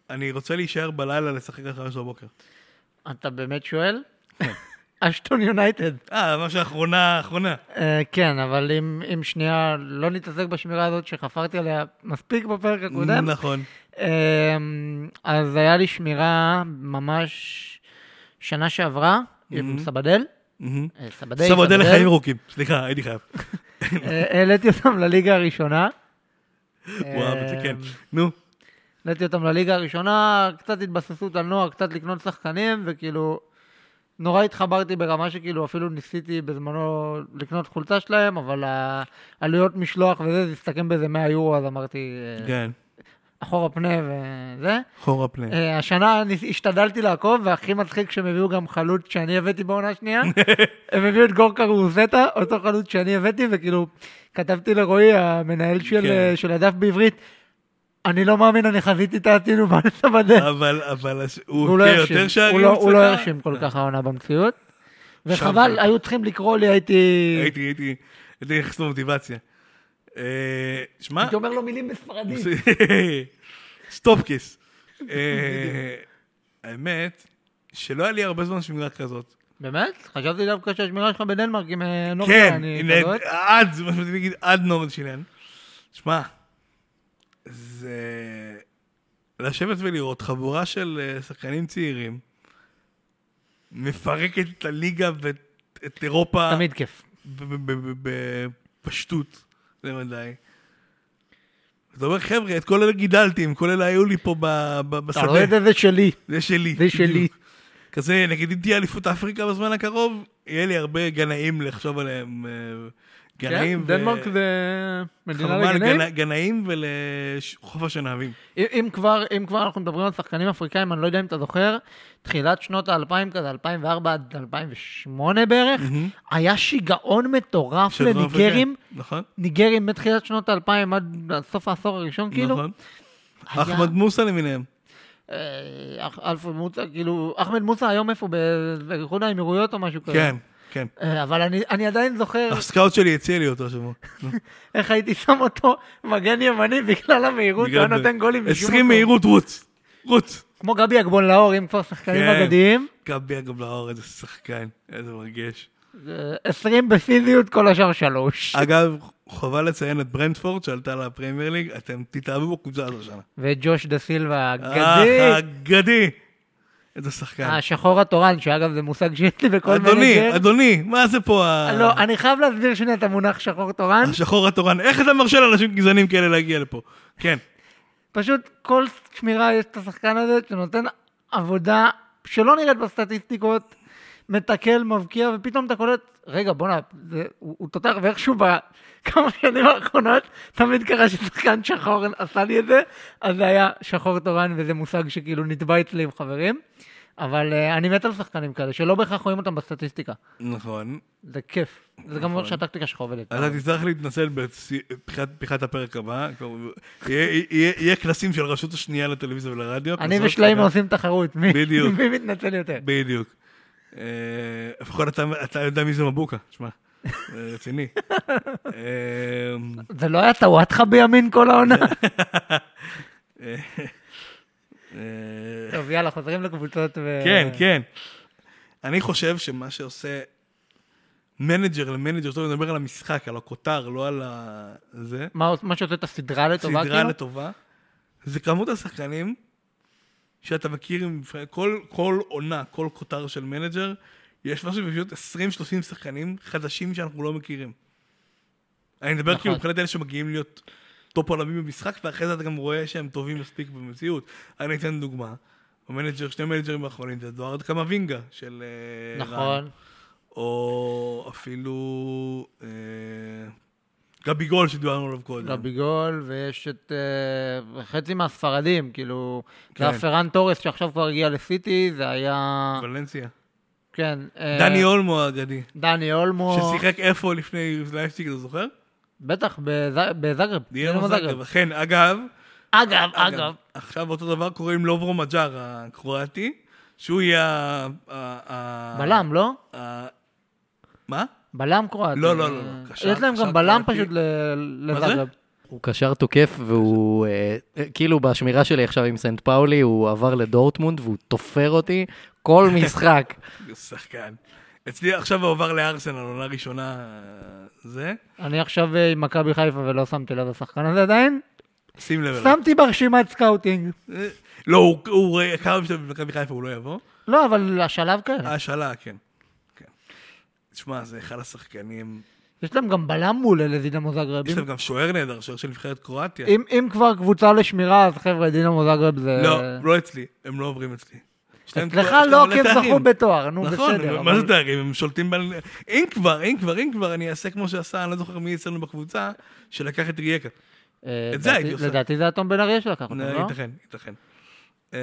אני רוצה להישאר בלילה לשחק עד חמש בבוקר.
אתה באמת שואל?
כן.
(laughs) אשטון יונייטד.
אה, ממש האחרונה, האחרונה.
אה, כן, אבל אם, אם שנייה לא נתעסק בשמירה הזאת שחפרתי עליה מספיק בפרק הקודם,
נכון.
אמ, אז היה לי שמירה ממש שנה שעברה, עם סבדל.
מהמם.
אה, סבדל.
עכשיו אודה Mm-hmm. לחיים ארוכים. סליחה, הייתי חייב.
אה, העליתי אותם לליגה הראשונה.
וואו,
אה,
זה כן. נו,
העליתי אותם לליגה הראשונה, קצת התבססות על נוער, קצת לקנות שחקנים, וכאילו, נורא התחברתי ברמה שכאילו אפילו ניסיתי בזמנו לקנות חולצה שלהם, אבל העלויות משלוח וזה, זה הסתכם באיזה 100 יורו, אז אמרתי, אה,
כן,
אחורה פנה וזה.
חור הפנים.
אה, השנה אני השתדלתי לעקוב, והכי מצחיק שהם הביאו גם חלוץ שאני הבאתי בעונה
(laughs)
השנייה. הם הביאו את גורקה רוזטה, אותו חלוץ שאני הבאתי, וכאילו, כתבתי לרועי, המנהל של,
כן.
אה, של הדף בעברית, אני לא מאמין, אני חזיתי את העתינו בארץ הבדל.
אבל, אבל הש- הוא
הוא לא
הופיע
הרשים,
יותר שערים
הוא לא- הוא לא
אצלך?
הרשים כל כך העונה במציאות.
שם
וחבל,
זה.
היו צריכים לקרוא לי, הייתי...
הייתי, הייתי, הייתי נכנס למוטיבציה. אה, שמע, (laughs)
הייתי אומר לו מילים בספרדית.
סטופ כיס. אה, האמת, שלא היה לי הרבה זמן שמירה כזאת.
באמת? חשבתי דווקא שהשמירה שלך בדנמרק עם אה, נוריה,
כן,
אני
הנה,
כזאת.
עד, זה מה שאני אגיד, עד נורן שילן. שמע, זה... לשבת ולראות חבורה של אה, שחקנים צעירים מפרקת את הליגה ואת את אירופה
תמיד כיף.
ב- ב- ב- ב- בפשטות למדי. אתה אומר, חבר'ה, את כל אלה גידלתי, הם כל אלה היו לי פה ב- ב-
אתה לא רואה את
בשדה.
זה, זה שלי.
זה שלי.
זה שלי.
בדיוק. כזה, נגיד אם תהיה אליפות אפריקה בזמן הקרוב, יהיה לי הרבה גנאים לחשוב עליהם. אה, גנאים
כן, דנמרק זה מדינה
כמובן,
לגנאים.
גנא- גנאים ולחוף השנהבים.
אם- אם כבר, אם כבר אנחנו מדברים על שחקנים אפריקאים, אני לא יודע אם אתה זוכר, תחילת שנות האלפיים כזה, 2004 עד 2008 בערך, היה שיגעון מטורף
של דרום אפריקה.
לניגרים.
נכון,
ניגרים מתחילת שנות האלפיים עד עד סוף העשור הראשון, כאילו.
נכון.
היה-
אחמד מוסא למיניהם.
אה, אח- אלפרד מוצא, כאילו, אחמד מוסא היום איפה? ב- באיחוד האמירויות או משהו כזה.
כן,
(laughs)
כן.
אה, אבל אני, אני עדיין זוכר
הסקאוט שלי הציע לי אותו השבוע.
איך הייתי שם אותו מגן ימני בגלל המהירות, הוא היה
בגלל-
נותן גולים. (laughs) משום
20
מקום.
מהירות רוץ. רוץ.
כמו גבי אגבון לאור, אם כבר שחקנים
כן.
אגדיים.
גבי אגבלאור, איזה שחקן, איזה מרגש.
אה, 20 בפיזיות, כל השאר שלוש.
אגב, חובה לציין את ברנדפורד שעלתה לפרמייר ליג, אתם תתאהבו בקבוצה הזו השנה.
וג'וש דה סילבה
אה,
האגדי,
אגדי. איזה שחקן.
השחור התורן, שאגב זה מושג שיש לי בכל
אדוני,
מנג'ר.
אדוני, מה זה פה ה-
לא, אני חייב להסביר שנייה את המונח שחור תורן.
השחור התורן? איך אתה מרשה לאנשים גזענים כאלה להגיע לפה? כן,
פשוט כל שמירה יש את השחקן הזה שנותן עבודה שלא נראית בסטטיסטיקות, מתקל, מבקיע, ופתאום אתה קולט, רגע, בואנה, זה- הוא הוא תותח, ואיכשהו בכמה שנים האחרונות, תמיד קרה ששחקן שחור עשה לי את זה, אז זה היה שחור תורן, וזה מושג שכאילו נתבע אצלי עם חברים. אבל אה, אני מת על שחקנים כאלה, שלא בהכרח רואים אותם בסטטיסטיקה.
נכון.
זה כיף. זה גם אומר שהטקטיקה שלך עובדת.
אתה תצטרך להתנצל בפתיחת הפרק הבא. כלומר, יהיה- יהיה יהיה כנסים של רשות השנייה לטלוויזיה ולרדיו.
אני
כנסות,
ושליימה
לא, אגב.
עושים תחרות, מי
בדיוק.
מי מתנצל יותר.
בדיוק. אה, לפחות אתה- אתה יודע מי זה מבוקה, שמע, זה
(laughs)
רציני. אה,
זה לא היה טוואטחה בימין כל
(laughs)
העונה?
אה, אה,
טוב, יאללה, חוזרים לקבוצות ו...
כן, כן. אה, אני חושב שמה שעושה מנג'ר למנג'ר, טוב, אני מדבר על המשחק, על הכותר, לא על ה... זה.
מה מה שעושה את הסדרה לטובה, כאילו?
סדרה לטובה, זה כמות השחקנים שאתה מכיר, עם- כל, כל עונה, כל כותר של מנג'ר, יש משהו בפשוט 20-30 שחקנים חדשים שאנחנו לא מכירים. אני מדבר
נכון.
כאילו מבחינת אלה שמגיעים להיות טופ עולמי במשחק, ואחרי זה אתה גם רואה שהם טובים מספיק במציאות. אני אתן דוגמה. המנג'ר, שני מנג'רים האחרונים, זה דוארד קמבינגה של אה, רן.
נכון.
או אפילו אה, גבי גול שדיברנו עליו קודם.
גביגול, ויש את אה, חצי מהספרדים, כאילו, זה
כן.
היה פרן תורס שעכשיו כבר הגיע לסיטי, זה היה...
ולנסיה.
כן. אה,
דני אולמו האגדי.
דני אולמו.
ששיחק איפה לפני לייפציג, אתה זוכר?
בטח, בז- בזאגרב.
דינמו
דינמו
זאגרב. אכן, כן, אגב,
אגב, אגב.
עכשיו אותו דבר קורה עם לוברו מג'אר הקרואטי, שהוא יהיה ה... ה- ה-
בלם, לא?
ה- מה?
בלם קרואטי. אה,
לא, לא, לא, לא. קשר-
יש להם
קשר
גם בלם
קרואטי.
פשוט ל-
זה?
לזאגרב.
הוא קשר תוקף, והוא, אה, אה, כאילו בשמירה שלי עכשיו עם סנט פאולי, הוא עבר לדורטמונד והוא תופר אותי כל משחק.
שחקן. אצלי עכשיו הוא עבר לארסנל, עונה ראשונה אה, זה.
אני עכשיו אה, עם מכבי חיפה ולא שמתי לב לשחקן הזה עדיין.
שים לב אליו.
שמתי ברשימת סקאוטינג.
אה, לא, הוא- הוא קרב במכבי חיפה, הוא לא יבוא.
לא, אבל השלב כן.
השאלה, כן. כן. תשמע, זה אחד השחקנים.
יש להם גם בלם מול אלה דינמו זאגרב.
יש
אם-
להם גם כן. שוער נהדר, שוער של נבחרת קרואטיה.
אם אם כבר קבוצה לשמירה, אז חבר'ה, דינמו זאגרב זה...
לא, לא אצלי, הם לא עוברים אצלי. יש להם
אה, אצלך
כבר- יש להם
לא,
מלא
כי הם
תארים.
זכו בתואר, נו
נכון,
בסדר.
מה
אבל-
זה תארים? הם שולטים ב... אם כבר, אם כבר, אם כבר, אני אעשה כמו שעשה, אני לא זוכר מי אצלנו בקבוצה, שלקח את רייקה.
אה,
את זה
לדעתי-
הייתי עושה.
לדעתי זה התום בן אריה שלקח אותו, לא?
ייתכן, ייתכן. אה,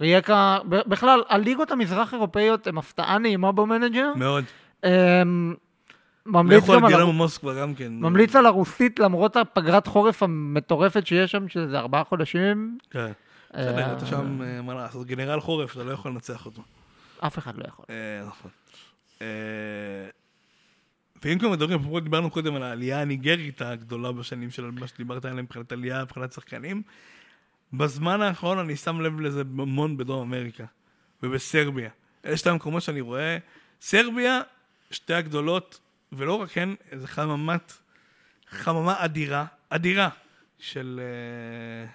רייקה, ב- בכלל, הליגות המזרח אירופאיות הן הפתעה נעימה במנג'ר.
מאוד.
אמ,
לא
ממליץ
ויכול
גם על...
גלם
הר-
מוסקבה גם כן.
ממליץ על הרוסית למרות הפגרת חורף המטורפת שיש שם, שזה ארבעה חודשים,
כן.
אה,
בסדר, אתה שם, אה, מה לעשות, גנרל חורף, אתה לא יכול לנצח אותו.
אף אחד לא יכול.
אה, נכון. אה, ואם כבר מדברים, אפרופו דיברנו קודם על העלייה הניגרית הגדולה בשנים של מה שדיברת עליהם מבחינת עלייה, מבחינת שחקנים, בזמן האחרון אני שם לב לזה המון בדרום אמריקה ובסרביה. אלה שתי המקומות שאני רואה. סרביה, שתי הגדולות, ולא רק הן, זה חממת, חממה אדירה, אדירה, של, אה,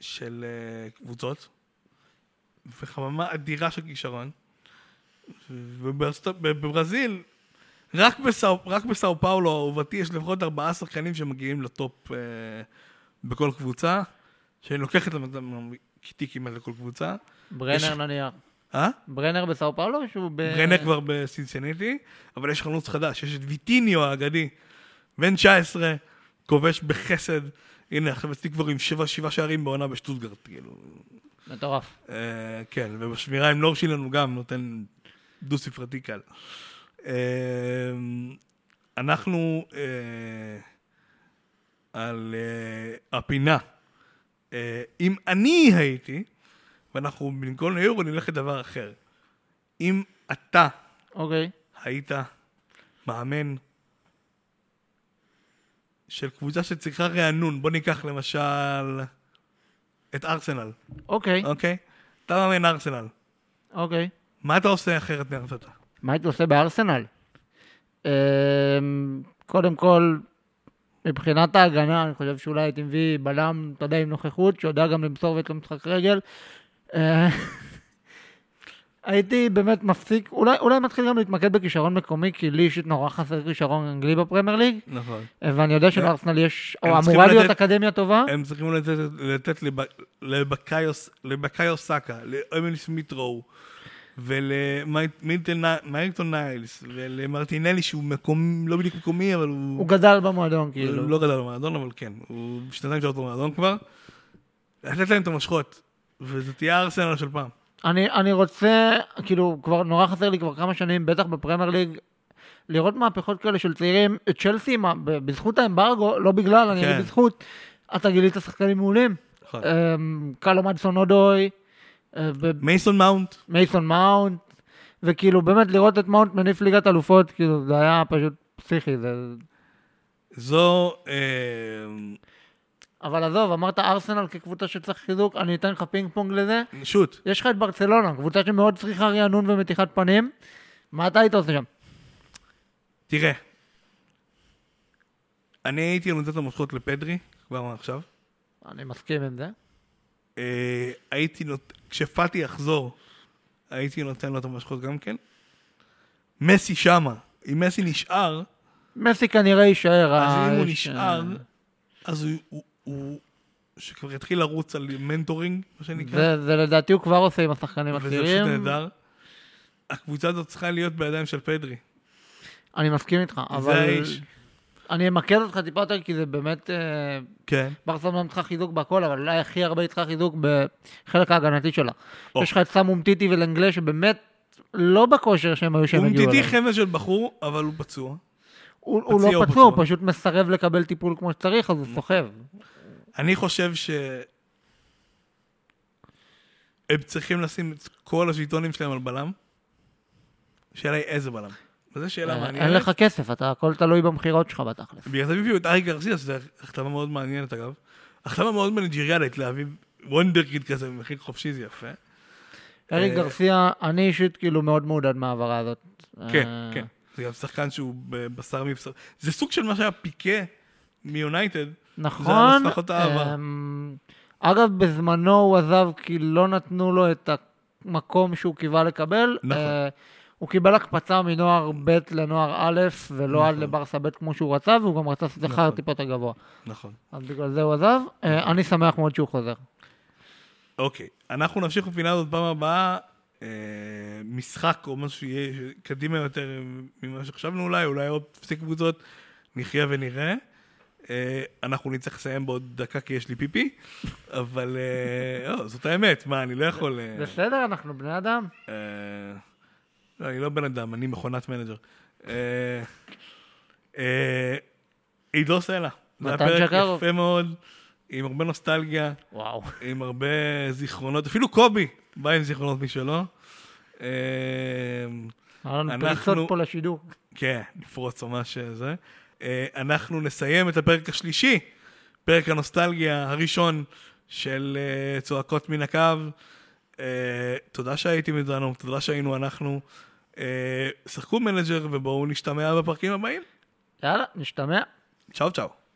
של אה, קבוצות. וחממה אדירה של כישרון. ובארצות- בברזיל, רק בסאו, רק בסאו פאולו אהובתי יש לפחות ארבעה שחקנים שמגיעים לטופ אה, בכל קבוצה, שאני לוקח את המדם איתי כמעט לכל קבוצה.
ברנר
יש-
נניח.
אה?
ברנר בסאו פאולו או שהוא ב...
רנה כבר בסינסינטי, אבל יש חלוץ חדש, יש את ויטיניו האגדי, בן 19, כובש בחסד. הנה, עכשיו אצלי כבר עם שבע, שבעה שערים בעונה בשטוטגרט, כאילו.
מטורף.
אה, כן, ובשמירה עם נורשילן הוא גם נותן דו-ספרתי קל. אה, אנחנו אה, על אה, הפינה. אה, אם אני הייתי, ואנחנו במקום ליורו נלך לדבר אחר. אם אתה
אוקיי.
היית מאמן של קבוצה שצריכה רענון, בוא ניקח למשל את ארסנל,
אוקיי.
אוקיי? אתה מאמן ארסנל.
אוקיי.
מה אתה עושה אחרת מהרצתה?
מה היית עושה בארסנל? אמ, קודם כל, מבחינת ההגנה, אני חושב שאולי הייתי מביא בלם, אתה יודע, עם נוכחות, שיודע גם למסור ויש לו משחק רגל. אה, (laughs) הייתי באמת מפסיק, אולי, אולי מתחיל גם להתמקד בכישרון מקומי, כי לי אישית נורא חסר כישרון אנגלי בפרמייר ליג,
נכון.
אה, ואני יודע שלארסנל יש, או
צריכים
אמורה להיות
לתת-
אקדמיה טובה.
הם צריכים לתת, לתת לב- לבקאיוס- לבקאיו סאקה, לאמיל סמית רואו, ולמיינטון ניילס, ולמרטינלי שהוא מקום, לא בדיוק מקומי, אבל הוא...
הוא גדל במועדון,
הוא
כאילו.
לא גדל במועדון, אבל כן, הוא שנתיים שעות במועדון כבר. לתת להם את המושכות, וזה תהיה הארסנל של פעם.
אני, אני רוצה, כאילו, כבר נורא חסר לי כבר כמה שנים, בטח בפרמייר ליג, לראות מהפכות כאלה של צעירים. את צ'לסי, מה- ב- בזכות האמברגו, לא בגלל, אני
כן.
אגיד בזכות, אתה גילית שחקנים מעולים.
נכון.
אמ, קלו מדסון אודוי, אה, ו-
מייסון מאונט,
מייסון מאונט, וכאילו, באמת לראות את מאונט מניף ליגת אלופות, כאילו, זה היה פשוט פסיכי. זה...
זו אה,
אבל עזוב, אמרת ארסנל כקבוצה שצריך חיזוק, אני אתן לך פינג פונג לזה.
שוט.
יש לך את ברצלונה, קבוצה שמאוד צריכה רענון ומתיחת פנים. מה אתה היית עושה שם?
תראה, אני הייתי נותן את המושכות לפדרי, כבר מה עכשיו.
אני מסכים עם זה.
אה, הייתי נות... כשפאטי יחזור, הייתי נותן לו את המושכות גם כן. מסי שמה. אם מסי נשאר,
מסי כנראה יישאר.
אז
ה-
אם הוא
יש,
נשאר,
אה,
אז הוא- הוא- הוא... שכבר יתחיל לרוץ על מנטורינג, מה שנקרא.
זה, זה לדעתי הוא כבר עושה עם השחקנים
כן. וזה פשוט
הצעירים.
נהדר. הקבוצה הזאת צריכה להיות בידיים של פדרי.
אני מסכים איתך,
זה
אבל
האיש.
אני אמקד אותך טיפה יותר, כי זה באמת... אה,
כן.
ברסלונה צריכה חיזוק בהכל, אבל אולי הכי הרבה היא צריכה חיזוק בחלק ההגנתי שלה.
או.
יש לך את סם אומטיטי ולנגלה, שבאמת לא בכושר שהם היו שהם
הוא
הגיעו
מדידי
אליו.
חמד של בחור, אבל הוא פצוע.
הוא הוא לא
פציע או
פצוע, הוא
פצוע.
פשוט מסרב לקבל טיפול כמו שצריך, אז הוא סוחב.
אני חושב ש... הם צריכים לשים את כל השלטונים שלהם על בלם. השאלה היא איזה בלם. וזו שאלה מעניינת.
אה, אין לך כסף, אתה הכל תלוי במכירות שלך בתכלס.
בגלל זה הם הביאו את ארי גרסיה, שזו החתמה מאוד מעניינת אגב. החתמה מאוד מנג'ריאלית להביא וונדרקיד כזה במחיר חופשי, זה יפה.
אה. אריק
אה,
גרסיה, אני אישית כאילו מאוד מעודד מההעברה הזאת.
כן,
אה,
כן. זה גם שחקן שהוא בשר מבשר. זה סוג של מה שהיה פיקה מיונייטד. זה
נכון.
המסכות העבר.
אמ, אגב, בזמנו הוא עזב כי לא נתנו לו את המקום שהוא קיווה לקבל.
נכון.
אה, הוא קיבל הקפצה מנוער ב' לנוער א', ולא עד לברסה ב' כמו שהוא רצה, והוא גם רצה שכר
נכון.
טיפה יותר גבוה.
נכון.
אז בגלל זה הוא עזב. אה, אני שמח מאוד שהוא חוזר.
אוקיי, אנחנו נמשיך בפינה הזאת פעם הבאה. אה, משחק או משהו שיהיה קדימה יותר ממה שחשבנו אולי, אולי עוד שתי קבוצות, נחיה ונראה. אה, אנחנו נצטרך לסיים בעוד דקה כי יש לי פיפי, אבל אה, לא, זאת האמת, מה, אני לא יכול... אה,
בסדר, אנחנו בני אדם.
אה, לא, אני לא בן אדם, אני מכונת מנג'ר. אה, אה, עידו סלע. זה היה
מתן
פרק
שקרוב.
יפה מאוד, עם הרבה נוסטלגיה. (laughs)
וואו.
עם הרבה זיכרונות, אפילו קובי בא עם זיכרונות משלו. אה, אמ,
היה לנו
אנחנו-
פריצות פה לשידור.
כן, נפרוץ או מה שזה. אה, אנחנו נסיים את הפרק השלישי, פרק הנוסטלגיה הראשון של אה, צועקות מן הקו. אה, תודה שהייתם איתנו, תודה שהיינו אנחנו. אה, שחקו מנג'ר ובואו נשתמע בפרקים הבאים.
יאללה, נשתמע.
צ'או צ'או.